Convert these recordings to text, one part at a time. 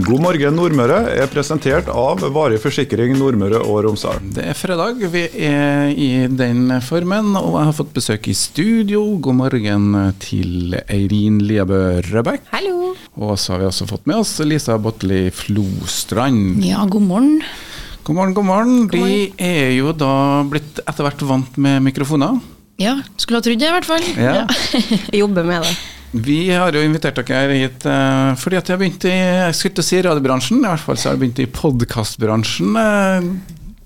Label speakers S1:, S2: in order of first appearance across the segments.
S1: God morgen Nordmøre er presentert av Varig forsikring Nordmøre og Romsdal.
S2: Det er fredag, vi er i den formen, og jeg har fått besøk i studio. God morgen til Eirin Liabø Røbekk.
S3: Hallo.
S2: Og så har vi også fått med oss Lisa Botli Flostrand.
S3: Ja, god morgen.
S2: God morgen, god morgen.
S3: God morgen.
S2: De er jo da blitt etter hvert vant med mikrofoner.
S3: Ja, skulle ha trodd det i hvert fall.
S2: Ja.
S4: Jobber med det.
S2: Vi har jo invitert dere hit eh, fordi at jeg har begynt i jeg skulle til å si radiobransjen, i hvert fall så har jeg begynt i podkastbransjen.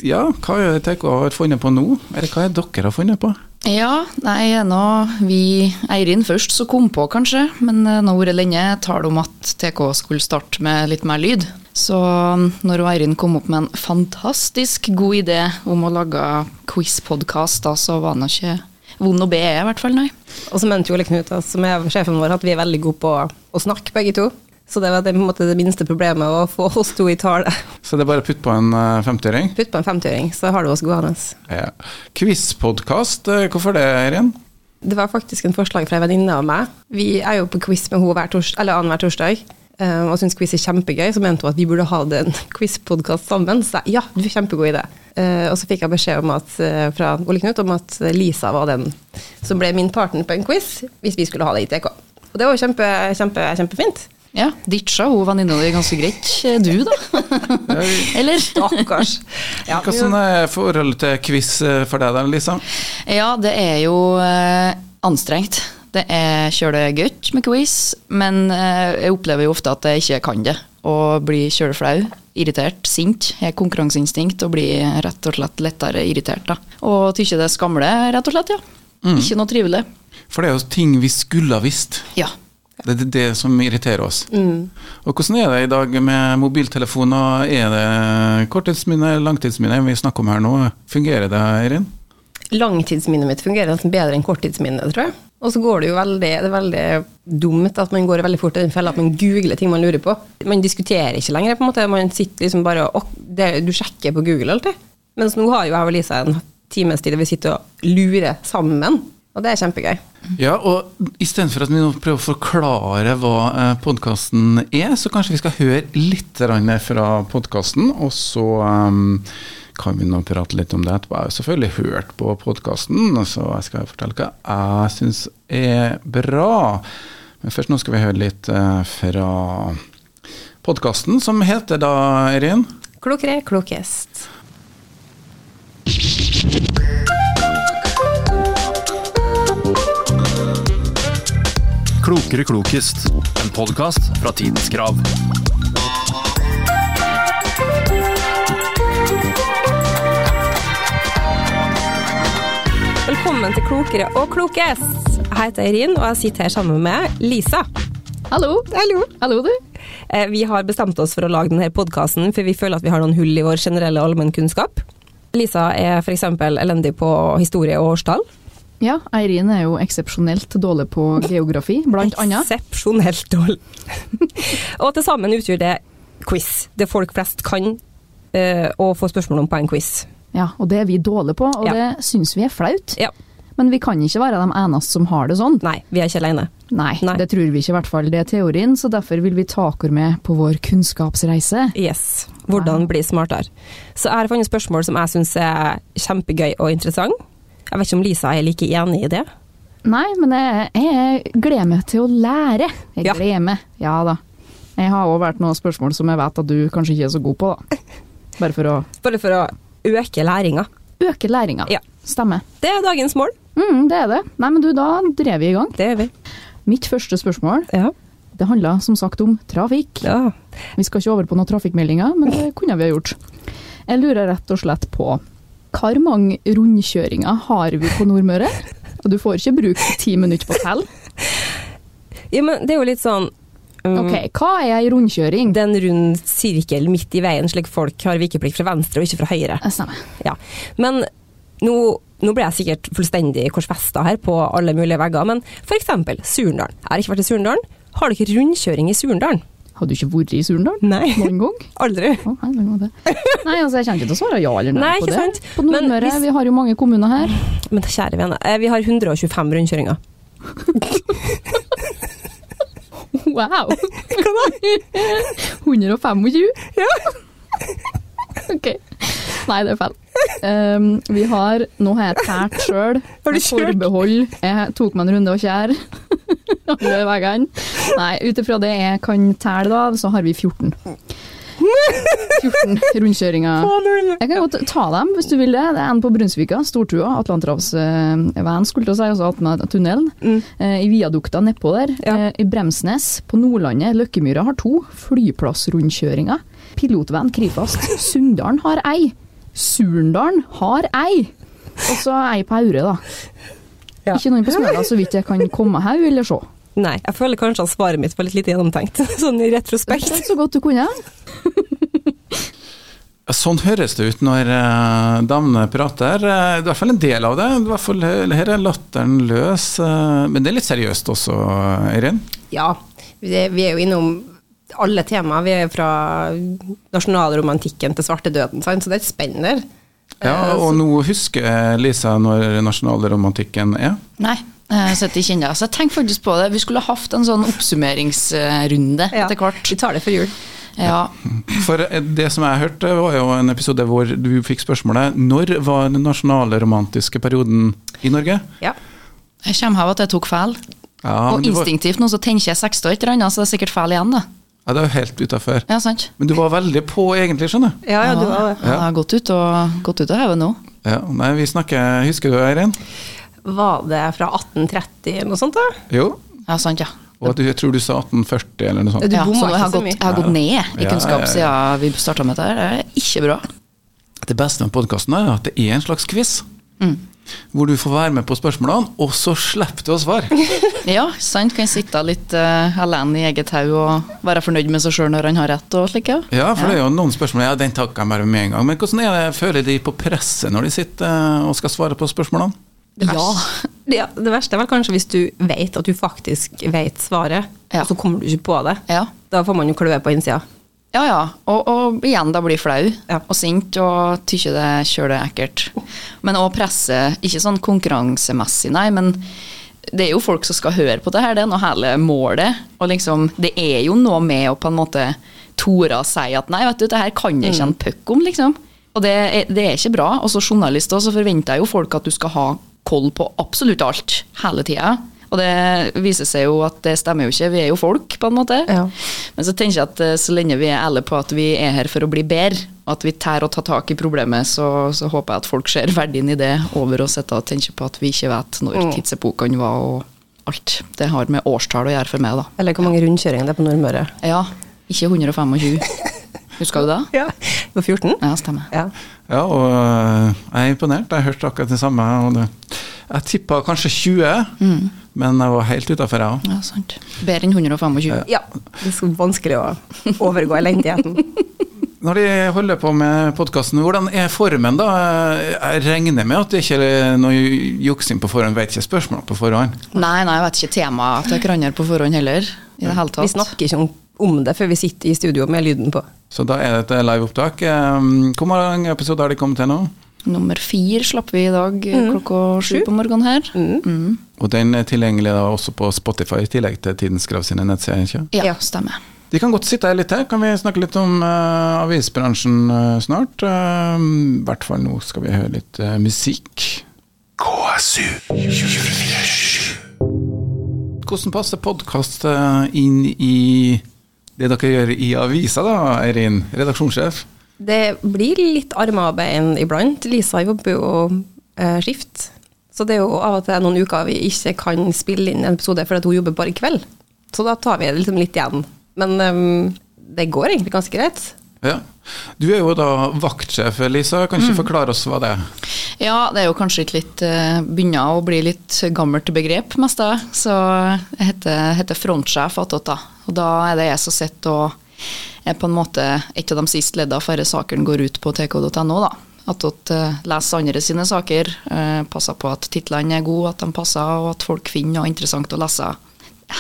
S2: Ja, hva er det TK har funnet på nå? Eller hva er det dere har funnet på?
S3: Ja, nei, nå vi Eirin først som kom på, kanskje. Men eh, nå har det vært lenge tale om at TK skulle starte med litt mer lyd. Så mm, når hun Eirin kom opp med en fantastisk god idé om å lage quiz-podkast, da, så var den ikke vond å be, i hvert fall, nei.
S4: Og så mente Ole Knut, da, som er sjefen vår, at vi er veldig gode på å snakke, begge to. Så det var det, på en måte, det minste problemet, å få oss to i tale.
S2: Så det er bare å putte på en eh, femtiøring.
S4: Putt på en femtiøring, så har du oss gående.
S2: Ja. Quiz-podkast, eh, hvorfor det, Eirin?
S4: Det var faktisk en forslag fra ei venninne av meg. Vi er jo på quiz med henne hver tors eller annenhver torsdag. eh, Og syns quiz er kjempegøy, så mente hun at vi burde ha det en quiz-podkast sammen. Så jeg, ja, du er kjempegod idé. Eh, og så fikk jeg beskjed om at, eh, fra Ole Knut om at Lisa var den som ble min partner på en quiz, hvis vi skulle ha det i TK. Og det var jo kjempe, kjempe, kjempefint.
S3: Ja, ditcha hun venninna di ganske greit. Eh, Du, da? Eller?
S4: Stakkars. Ja,
S2: Hvordan er forholdet sånn, eh, til quiz eh, for deg da, Lisa?
S3: Ja, det er jo eh, anstrengt. Det er kjøle godt med quiz, men eh, jeg opplever jo ofte at jeg ikke kan det. Og blir kjøle flau, irritert, sint, har konkurranseinstinkt og blir rett og slett lettere irritert. da. Og tykker det er skamle, rett og slett, ja. Ikke noe trivelig.
S2: For det er jo ting vi skulle ha visst.
S3: Ja.
S2: Det er det- det som irriterer oss. Og hvordan er det i dag med mobiltelefoner? Er det korttidsminne, langtidsminne vi snakker om her nå? Fungerer det, Eirin?
S4: Langtidsminnet mitt fungerer nesten bedre enn korttidsminnet, tror jeg. Og så går det jo veldig, det er veldig dumt at man går veldig fort i den fella at man googler ting man lurer på. Man diskuterer ikke lenger, på en måte. Man sitter liksom bare og det, Du sjekker på Google alltid. Mens nå har jo jeg og Lisa en times tid der vi sitter og lurer sammen. Og det er kjempegøy.
S2: Ja, og istedenfor at vi nå prøver å forklare hva podkasten er, så kanskje vi skal høre litt grann fra podkasten, og så ehm, kan vi nå prate litt om det etterpå. Jeg har jo selvfølgelig hørt på podkasten, så jeg skal fortelle hva jeg syns er bra. Men først nå skal vi høre litt eh, fra podkasten, som heter da, Eirin?
S4: Klokere, klokest.
S5: Klokere klokest. En podkast fra Tidens Krav.
S4: Velkommen til Klokere og klokest. Jeg heter Eirin, og jeg sitter her sammen med Lisa.
S3: Hallo.
S4: Hallo.
S3: Hallo, du.
S4: Eh, Vi har bestemt oss for å lage denne podkasten, for vi føler at vi har noen hull i vår generelle allmennkunnskap. Lisa er f.eks. elendig på historie og årstall.
S6: Ja, Eirin er jo eksepsjonelt dårlig på geografi, blant annet.
S4: Eksepsjonelt dårlig. og til sammen utgjør det quiz. Det folk flest kan, eh, og får spørsmål om på en quiz.
S6: Ja, og det er vi dårlige på, og
S4: Ja.
S6: det syns vi er flaut.
S4: Ja.
S6: Men vi kan ikke være de eneste som har det sånn.
S4: Nei, vi er ikke alene.
S6: Nei,
S4: Nei.
S6: det tror vi ikke i hvert fall. Det er teorien, så derfor vil vi ta dere med på vår kunnskapsreise.
S4: Yes. Hvordan bli smartere. Så jeg har funnet spørsmål som jeg syns er kjempegøy og interessant. Jeg vet ikke om Lisa er like enig i det.
S6: Nei, men jeg, jeg gleder meg til å lære. Jeg
S4: Ja.
S6: gleder meg. Ja da. Jeg har òg vært noen spørsmål som jeg vet at du kanskje ikke er så god på, da. Bare for å
S4: Bare for å øke læringa.
S6: øke læringa.
S4: Ja.
S6: Stemmer.
S4: Det er dagens mål.
S6: Mm, det er det. Nei, men du, da drev vi i gang.
S4: Det gjør vi.
S6: Mitt første spørsmål
S4: Ja.
S6: Det handla som sagt om trafikk.
S4: ja.
S6: Vi skal ikke over på noen trafikkmeldinger, men det kunne vi ha gjort. Jeg lurer rett og slett på hvor mange rundkjøringer har vi på Nordmøre? Og du får ikke bruke ti minutter på å telle.
S4: Ja, men det er jo litt sånn um,
S6: Ok, hva er ei rundkjøring?
S4: Det er en rund sirkel midt i veien, slik folk har vikeplikt fra venstre og ikke fra høyre.
S6: Jeg stemmer.
S4: Ja. Men nå, nå ble jeg sikkert fullstendig korsfesta her på alle mulige vegger, men f.eks. Surndalen. Jeg har ikke vært i Surndalen. Har dere rundkjøring i Surndalen?
S6: Har du ikke vært i Surndal
S4: Nei.
S6: noen gang?
S4: Aldri.
S6: Å, hei, det var det. Nei, altså, jeg kommer ikke til å svare ja eller nei,
S4: Nei,
S6: på
S4: ikke
S6: det.
S4: sant?
S6: På
S4: Men
S6: Nordmøre,
S4: hvis-
S6: vi har jo mange kommuner her.
S4: Men kjære vene, eh, vi har 125 rundkjøringer.
S6: Wow! Hva da? 125. OK. Nei, det er feil. Um, vi har Nå har jeg tært sjøl.
S4: Har du
S6: Med
S4: kjørt?
S6: Forbehold. Jeg tok meg en runde og kjær. Alle veiene. Nei, ut ifra det jeg kan telle, da, så har vi 14. 14 rundkjøringer. Jeg kan godt ta dem hvis du vil det. Det er en på Brunsvika, Stortua, Atlanterhavsveien, skulle til å si, altså attmed tunnelen.
S4: Mm.
S6: Eh, I viadukta nedpå der.
S4: Ja.
S6: Eh, I Bremsnes, på Nordlandet, Løkkemyra har to. Flyplassrundkjøringer. Pilotveien Krifast. Sunndalen har ei. Surndalen har ei. Og så ei på Aure, da.
S4: Ja.
S6: Ikke noen på Smøla, så vidt jeg kan komme her eller se.
S4: Nei, jeg føler kanskje at svaret mitt var litt lite gjennomtenkt, sånn i
S6: Det
S4: retrospekt.
S6: så godt du kunne.
S2: Sånn høres det ut når eh, damene prater. Eh, det er I hvert fall en del av det. I hvert fall, eh, her er latteren løs. eh, men det er litt seriøst også, eh, Eirin.
S4: Ja, vi vi er jo innom alle temaer. Vi er fra nasjonalromantikken til svartedøden, sant? så det er et spenn der.
S2: Ja,
S4: Eh,
S2: og nå husker eh, Lisa når nasjonalromantikken er.
S3: Nei, jeg sitter ikke ennå. Så jeg tenker faktisk på det. Vi skulle ha hatt en sånn oppsummeringsrunde
S4: Ja.
S3: etter hvert.
S4: Vi tar det for jul.
S3: Ja.
S2: For eh, det som jeg hørte, var jo en episode hvor du fikk spørsmålet når var den nasjonalromantiske perioden i Norge?
S4: Ja.
S3: Jeg kommer av at jeg tok feil.
S2: Ja, men
S3: Og
S2: du var-
S3: instinktivt nå så tenker jeg 60 og et eller annet, så Altså, det er sikkert feil igjen, da.
S2: Ja, det er jo helt utafor.
S3: Ja, sant?
S2: Men du var veldig på, egentlig, skjønner du.
S4: Ja, ja, du var det.
S3: Ja, jeg har gått ut og, gått ut og hevet nå.
S2: Ja, nei, vi snakker Husker du, Eirin?
S4: Var det fra 1830 eller noe sånt? da?
S2: Jo.
S3: Ja, sant, ja.
S2: Og at du, jeg tror du sa 1840 eller noe sånt.
S4: Du
S3: ja
S4: bomma
S3: så jeg
S4: ikke
S3: har,
S4: så
S3: gått,
S4: mye.
S3: jeg har gått ned i
S2: Ja, ja,
S3: kunnskap
S2: ja.
S3: siden vi starta med dette. her. Det er ikke bra.
S2: Det beste med podkasten er at det er en slags quiz. Hvor du får være med på spørsmålene, og så slipper du å svare.
S3: Ja, sant. Kan sitte litt eh, alene i eget hau og være fornøyd med seg sjøl når han har rett og slik, ja.
S2: Ja, for det er jo noen spørsmål Ja, den takker jeg bare med en gang. Men hvordan er det, føler de på presset når de sitter eh, og skal svare på spørsmålene?
S4: Det
S3: Ja.
S4: verste, ja, det verste er vel kanskje hvis du vet at du faktisk vet svaret,
S3: Ja.
S4: og så kommer du ikke på det.
S3: Ja.
S4: Da får man jo kløe på innsida.
S3: Ja, ja. Og, og igjen da blir flau
S4: Ja.
S3: og sint og tykker det kjører det ekkelt. Men òg presse, ikke sånn konkurransemessig, nei, men det er jo folk som skal høre på det her, det er nå hele målet. Og liksom, det er jo noe med å på en måte tore å si at nei, vet du, det her kan jeg ikke en puck om, liksom. Og det er, det er ikke bra. Og som journalist også, så forventer jeg jo folk at du skal ha koll på absolutt alt hele tida. Og det viser seg jo at det stemmer jo ikke, vi er jo folk, på en måte.
S4: Ja.
S3: Men så tenker jeg at eh, så lenge vi er ærlige på at vi er her for å bli bedre, og at vi tær å ta tak i problemet, så, så håper jeg at folk ser verdien i det over å sitte og tenke på at vi ikke vet når
S4: Mm.
S3: tidsepokene var og alt. Det har med årstall å gjøre for meg, da.
S4: Eller hvor mange rundkjøringer det er på Nordmøre.
S3: Ja, ikke 125. Husker du det?
S4: Ja. På 14?
S3: Ja, stemmer.
S4: Ja.
S2: Ja, og eh, jeg er imponert. Jeg hørte akkurat det samme. Og det. Jeg tippa kanskje 20, men jeg var helt utafor, jeg òg.
S3: Ja, sant. Bedre enn 125.
S4: ja. Det er så vanskelig å overgå elendigheten.
S2: Når de holder på med podkasten, hvordan er formen da? Jeg regner med at det ikke er noe juksing på forhånd, vet ikke spørsmål på forhånd.
S3: Nei, nei, jeg vet ikke temaet til hverandre på forhånd heller. I det hele
S4: Vi
S3: tatt.
S4: snakker ikke om, om det før vi sitter i studio med lyden på.
S2: Så da er det et liveopptak. Eh, Hvor mange episoder har de kommet til nå?
S3: Nummer fire slapp vi i dag eh,
S4: Mm.
S3: klokka sju på morgenen her. Mm.
S2: Og den er tilgjengelig da også på Spotify, i tillegg til Tidens Krav sine nettsider. ikke?
S3: Ja,
S4: Ja.
S3: stemmer.
S2: De kan godt sitte her litt til. Kan vi snakke litt om eh, avisbransjen eh, snart? Eh, I hvert fall nå skal vi høre litt eh, musikk. Hvordan passer podkast inn i det dere gjør i avisa, da, Eirin? Redaksjonssjef.
S4: Det blir litt armarbeid enn iblant. Lisa jobber jo eh, skift. Så det er jo av og til noen uker vi ikke kan spille inn en episode fordi at hun jobber bare i kveld. Så da tar vi det liksom litt igjen. Men ehm, det går egentlig ganske greit.
S2: Ja. Du er jo da vaktsjef, Lisa. Kan
S3: Mm.
S2: ikke forklare oss hva det er?
S3: Ja, det er jo kanskje et litt eh, Begynner å bli litt gammelt begrep, mest da. Så jeg heter, heter frontsjef attåt, da. Og da er det jeg som sitter og er på en måte et av de siste leddene før sakene går ut på tk.no, da. Attåt eh, leser andre sine saker, eh, passer på at titlene er gode, at de passer, og at folk finner noe interessant å lese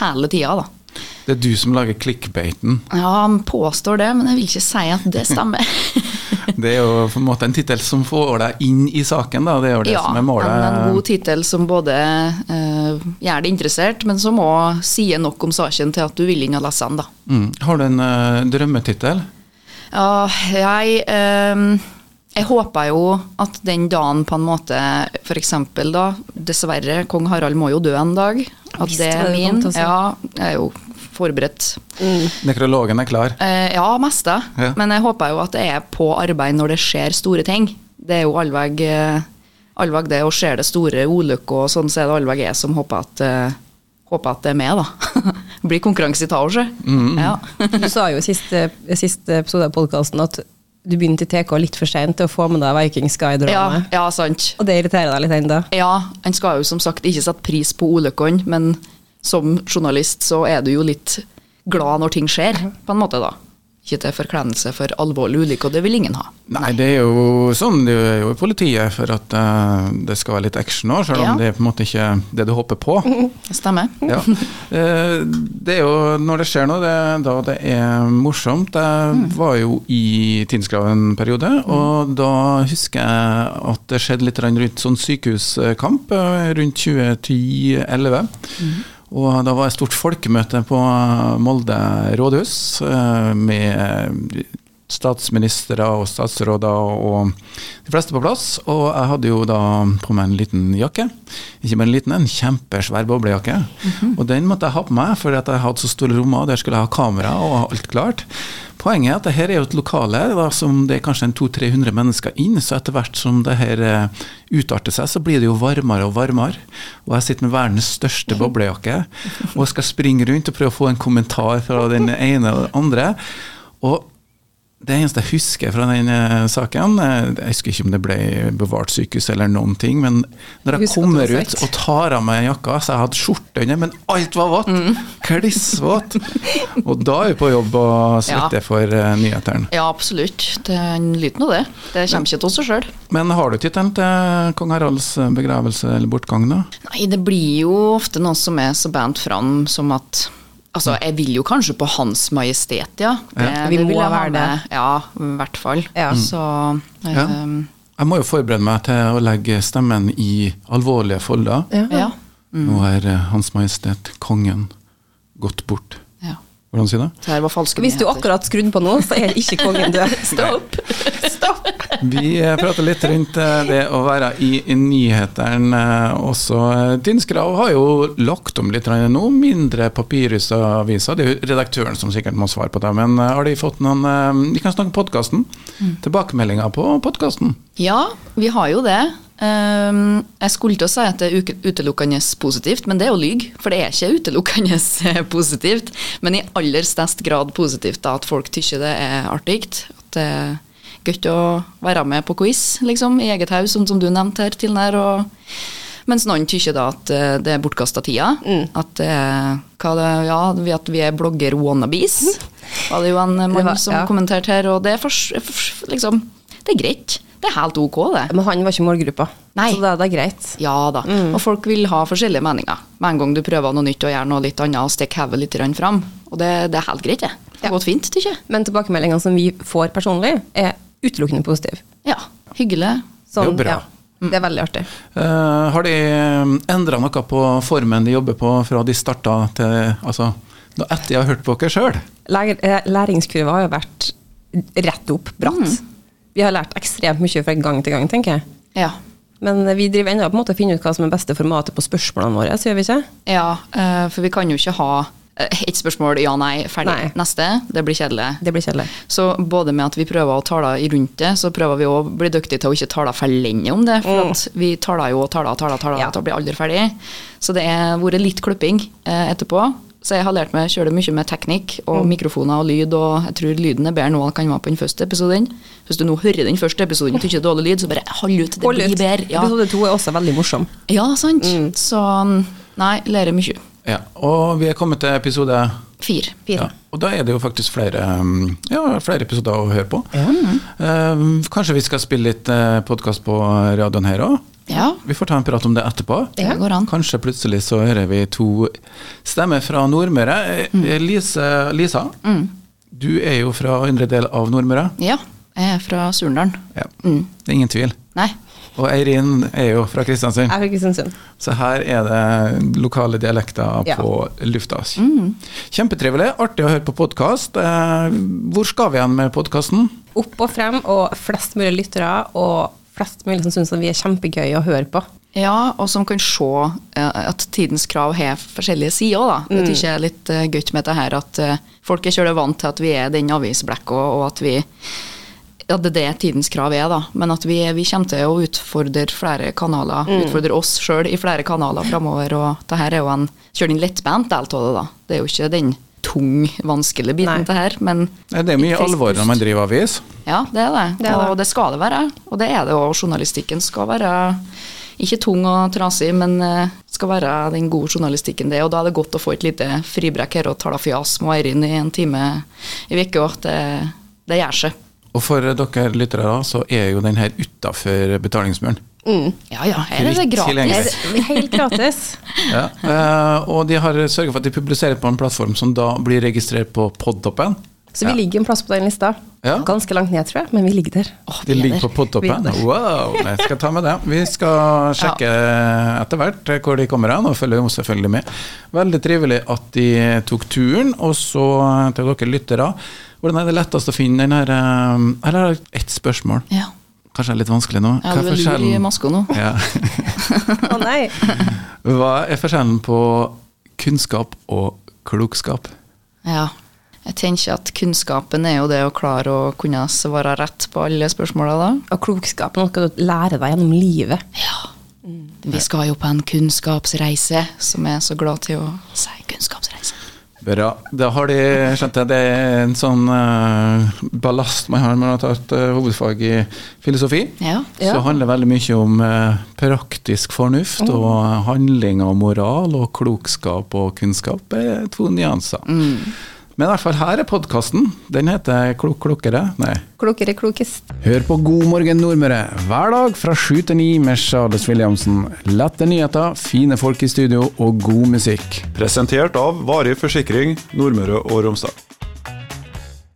S3: hele tida, da.
S2: Det er du som lager clickbaiten.
S3: Ja, han påstår det, men jeg vil ikke si at det stemmer.
S2: Det er jo på en måte en tittel som får deg inn i saken, da. Det er jo det som er
S3: Ja,
S2: målet.
S3: men en god tittel som både eh, gjøre det interessert, men som òg sier nok om saken til at du vil inn og lese den. da.
S2: Mm. Har du en uh, drømmetittel?
S3: Ja, jeg ehm, Jeg håper jo at den dagen på en måte For eksempel da, dessverre, kong Harald må jo dø en dag. At
S4: visste
S3: det
S4: det
S3: er altså.
S4: du kom
S3: min.
S4: til å si.
S3: Ja, jeg er jo forberedt.
S2: Nekrologen er klar.
S3: Eh, ja, meste.
S2: Ja.
S3: Men jeg håper jo at det er på arbeid når det skjer store ting. Det er jo allveg, eh, allveg det, og skjer det store ulykker og sånn, så er det allveg jeg som håper at, eh, håper at det er med, da. Blir konkurranse i taosje. Ja.
S4: Du sa jo i siste, i siste episode av podkasten at du begynte i TK litt for seint til å få med deg Viking
S3: ja,
S4: Sky-dramaet.
S3: ja, sant.
S4: Og det irriterer deg litt ennå?
S3: Ja, en skal jo som sagt ikke sette pris på ulykkene, men som journalist så er du jo litt glad når ting skjer, på en måte, da. Ikke til forkleinelse for alvorlig ulykke, og det vil ingen ha.
S2: Nei, det er jo sånn det er jo i politiet, for at eh, det skal være litt action òg, selv om
S3: Ja. Mm.
S2: det er på en måte ikke det du håper på.
S3: Stemmer.
S2: Ja. Eh, Det er jo når det skjer noe, det er da det er morsomt. Jeg var jo i Tindskrav en periode, og da husker jeg at det skjedde litt grann rundt sånn sykehuskamp eh, rundt 2010-2011. Og da var det et stort folkemøte på Molde rådhus eh, med statsministre og statsråder og de fleste på plass. Og jeg hadde jo da på meg en liten jakke. Ikke bare en liten, en kjempesvær boblejakke. Og den måtte jeg ha på meg, for at jeg hadde så store rommer, og der skulle jeg ha kamera og alt klart. Poenget er at det her er jo et lokale da, som det er kanskje en 200-300 mennesker inn, så etter hvert som det her eh, utarter seg, så blir det jo varmere og varmere. Og jeg sitter med verdens største boblejakke og skal springe rundt og prøve å få en kommentar fra den ene og den andre. Og det eneste jeg husker fra den eh, saken, eh, jeg husker ikke om det ble bevart sykehus eller noen ting, men når jeg
S4: Husk at
S2: kommer
S4: det var
S2: ut
S4: svett.
S2: og tar av meg jakka, så jeg hadde skjorte under, men alt var vått!
S4: Mm.
S2: Klissvått! Og da er vi på jobb og svetter
S3: Ja.
S2: for eh, nyhetene.
S3: Ja, absolutt. Det er en lyden av det. Det kommer ikke til oss sjøl.
S2: Men har du tittelen til kong Haralds begravelse eller bortgang, da?
S3: Nei, det blir jo ofte noe som er så bandt fram som at Altså, jeg vil jo kanskje på Hans Majestet, ja. Det,
S4: Vi
S3: det
S4: må
S3: jeg ha
S4: være det.
S3: med. Ja, i hvert fall.
S4: Ja.
S3: Så
S2: Ja.
S3: ehm,
S2: Jeg må jo forberede meg til å legge stemmen i alvorlige folder.
S3: ja.
S4: Mm.
S2: Nå er eh, Hans Majestet Kongen gått bort.
S3: ja.
S2: Hvordan sier du det?
S3: Det her var falske
S4: Hvis du
S3: nyheter.
S4: akkurat skrudd på nå, så er ikke kongen død. Stopp!
S2: Vi eh, prater litt rundt eh, det å være i i nyhetene eh, også. Tinnskrav har jo lagt om litt grann nå, mindre papiraviser. Det er jo redaktøren som sikkert må svare på det, men eh, har de fått noen eh, Vi kan snakke om podkasten. Tilbakemeldinger på podkasten.
S3: Ja, vi har jo det. Ehm, jeg skulle til å si at det er uke- utelukkende positivt, men det er jo lyg. For det er ikke utelukkende positivt, men i aller størst grad positivt da, at folk tykker det er artig. At det er gøy å være med på quiz liksom, i eget hus, som, som du nevnte her tidligere. Og, mens noen tykker da at eh, det er bortkasta tida.
S4: Mm.
S3: At, det er- hva det, ja, vi- at vi er blogger-wannabes, var det jo en eh,
S4: Mhm. Det
S3: mann
S4: var-
S3: som
S4: ja.
S3: kommenterte her. Og det er, fors- fors- liksom, det er greit. Det er helt ok, det. Mm.
S4: Men han var ikke målgruppa,
S3: Nei.
S4: så da er det greit.
S3: Ja da. Og folk vil ha forskjellige meninger. Med en gang du prøver noe nytt og gjør noe litt annet og stikker hodet litt grann fram. Og det, det er helt greit, det. Det har gått fint, tykker jeg.
S4: Men tilbakemeldingene som vi får personlig, er utelukkende positive.
S3: Ja. Hyggelig.
S2: Det er
S4: Sånn,
S2: jo bra.
S4: Ja, det er veldig artig.
S2: Eh, har de endra noe på formen de jobber på fra de starta til Altså, da etter jeg har hørt på dere sjøl?
S4: Lærer, eh, læringskurva har jo vært rett opp, bratt.
S3: Mm.
S4: Vi har lært ekstremt mye fra gang til gang, tenker jeg.
S3: Ja.
S4: Men eh, vi driver ennå på en måte å finne ut hva som er beste formatet på spørsmålene våre, så gjør vi ikke?
S3: ja eh, for vi kan jo ikke ha eh, ett spørsmål ja-nei, ferdig.
S4: Nei.
S3: Neste. Det blir kjedelig.
S4: Det blir kjedelig.
S3: Så både med at vi prøver å tale i rundt det, så prøver vi òg å bli dyktige til å ikke tale for lenge om det. For at vi taler jo og taler og taler, og taler,
S4: Mm. Ja.
S3: og blir aldri ferdig. Så det har vært litt klipping eh, etterpå. Så jeg har lært meg sjøl mye med teknikk og
S4: Mm.
S3: mikrofoner og lyd, og jeg tror lyden er bedre nå enn den kan være på den første episoden. Hvis du nå hører den første episoden og tykker det er dårlig lyd, så bare hold ut, det
S4: Hold ut.
S3: blir bedre. Ja,
S4: Episode Mm. to er også veldig morsom.
S2: Mm.
S3: ja sant. Så mm, nei, lærer mye.
S2: Ja. Og vi er kommet til episode
S3: Fire.
S2: Ja, og da er det jo faktisk flere, um, ja, flere episoder å høre på. Um, kanskje vi skal spille litt uh, podkast på radioen her òg?
S3: Ja.
S2: Vi får ta en prat om det etterpå.
S3: Det går an.
S2: Kanskje plutselig så hører vi to stemmer fra Nordmøre.
S3: Mm.
S2: Eh, Lise, Lisa, du er jo fra indre del av Nordmøre.
S3: Ja. Jeg er fra Surndalen.
S2: Ja. Det er ingen tvil.
S3: Nei.
S2: Og Eirin er jo fra Kristiansund.
S4: Jeg er fra Kristiansund.
S2: Så her er det lokale dialekter
S4: Ja.
S2: på lufta. altså. Kjempetrivelig. Artig å høre på podkast. Eh, hvor skal vi igjen med podkasten?
S4: Opp og frem, og flest mulig lyttere, og flest mulig som syns vi er kjempegøye å høre på.
S3: Ja, og som kan se eh, at tidens krav har forskjellige sider. Da. Det tykker jeg er litt eh, gøy med det her, at eh, folk er selv vant til at vi er den avisblekka, og at vi ja, det er det tidens krav er, da. Men at vi, vi kommer til å utfordre flere kanaler, utfordre oss sjøl i flere kanaler framover. Og det her er jo en kjører inn lettbent del av det, da. Det er jo ikke den tung, vanskelige
S4: Nei.
S3: biten, det her. Men
S2: Nei, Eh, Det er mye
S3: Ikke frisk
S2: alvor når man driver avis.
S3: ja, det er det.
S4: Det er det.
S3: Og det skal det være. Og det er det òg. Journalistikken skal være ikke tung og trasig, men eh, skal være den gode journalistikken det er. Og da er det godt å få et lite fribrekk her og tale fjas med Eirin i en time i uka. Det, det gjør seg.
S2: Og for dere lyttere da, så er jo den her utafor betalingsmuren.
S3: Ja ja, her er det
S2: Fritt tilgjengelig.
S3: gratis.
S4: Helt gratis.
S2: Ja. Eh, og de har sørga for at de publiserer på en plattform som da blir registrert på Podtoppen.
S4: Så vi
S2: Ja.
S4: ligger en plass på den lista.
S2: Ja.
S4: Ganske langt ned, tror jeg, men vi ligger der.
S3: Åh,
S2: De ligger på
S3: Peder.
S2: Podtoppen.
S4: Videre.
S2: Wow, jeg skal ta med det. Vi skal sjekke etter hvert hvor de kommer hen, og følger jo selvfølgelig med. Veldig trivelig at de tok turen. Og så til dere lyttere, hvordan er det lettest å finne den her eh, Her har jeg ett spørsmål.
S3: Ja.
S2: Kanskje er litt vanskelig nå.
S3: ja, du er lur i maska nå.
S2: Ja.
S4: Å nei.
S2: Hva er forskjellen på kunnskap og klokskap?
S3: Ja. Jeg tenker at kunnskapen er jo det å klare å kunne svare rett på alle spørsmåla da.
S4: Og klokskapen er noe du lærer deg gjennom livet.
S3: Ja. Vi skal jo på en kunnskapsreise, som jeg er så glad til å si. Kunnskapsreise.
S2: Bra. Da har de skjønt det. Det er en sånn eh, ballast man har når man har tatt eh, hovedfag i filosofi.
S3: Ja.
S2: Så handler veldig mye om eh, praktisk fornuft og handling og moral og klokskap og kunnskap er to nyanser. Men i hvert fall her er podkasten. Den heter Klok klokere. Nei.
S4: Klokere klokest.
S2: Hør på God morgen Nordmøre hver dag fra 7 til 9 med Charles Williamsen. Lette nyheter, fine folk i studio og god musikk.
S1: Presentert av Varig forsikring Nordmøre og Romsdal.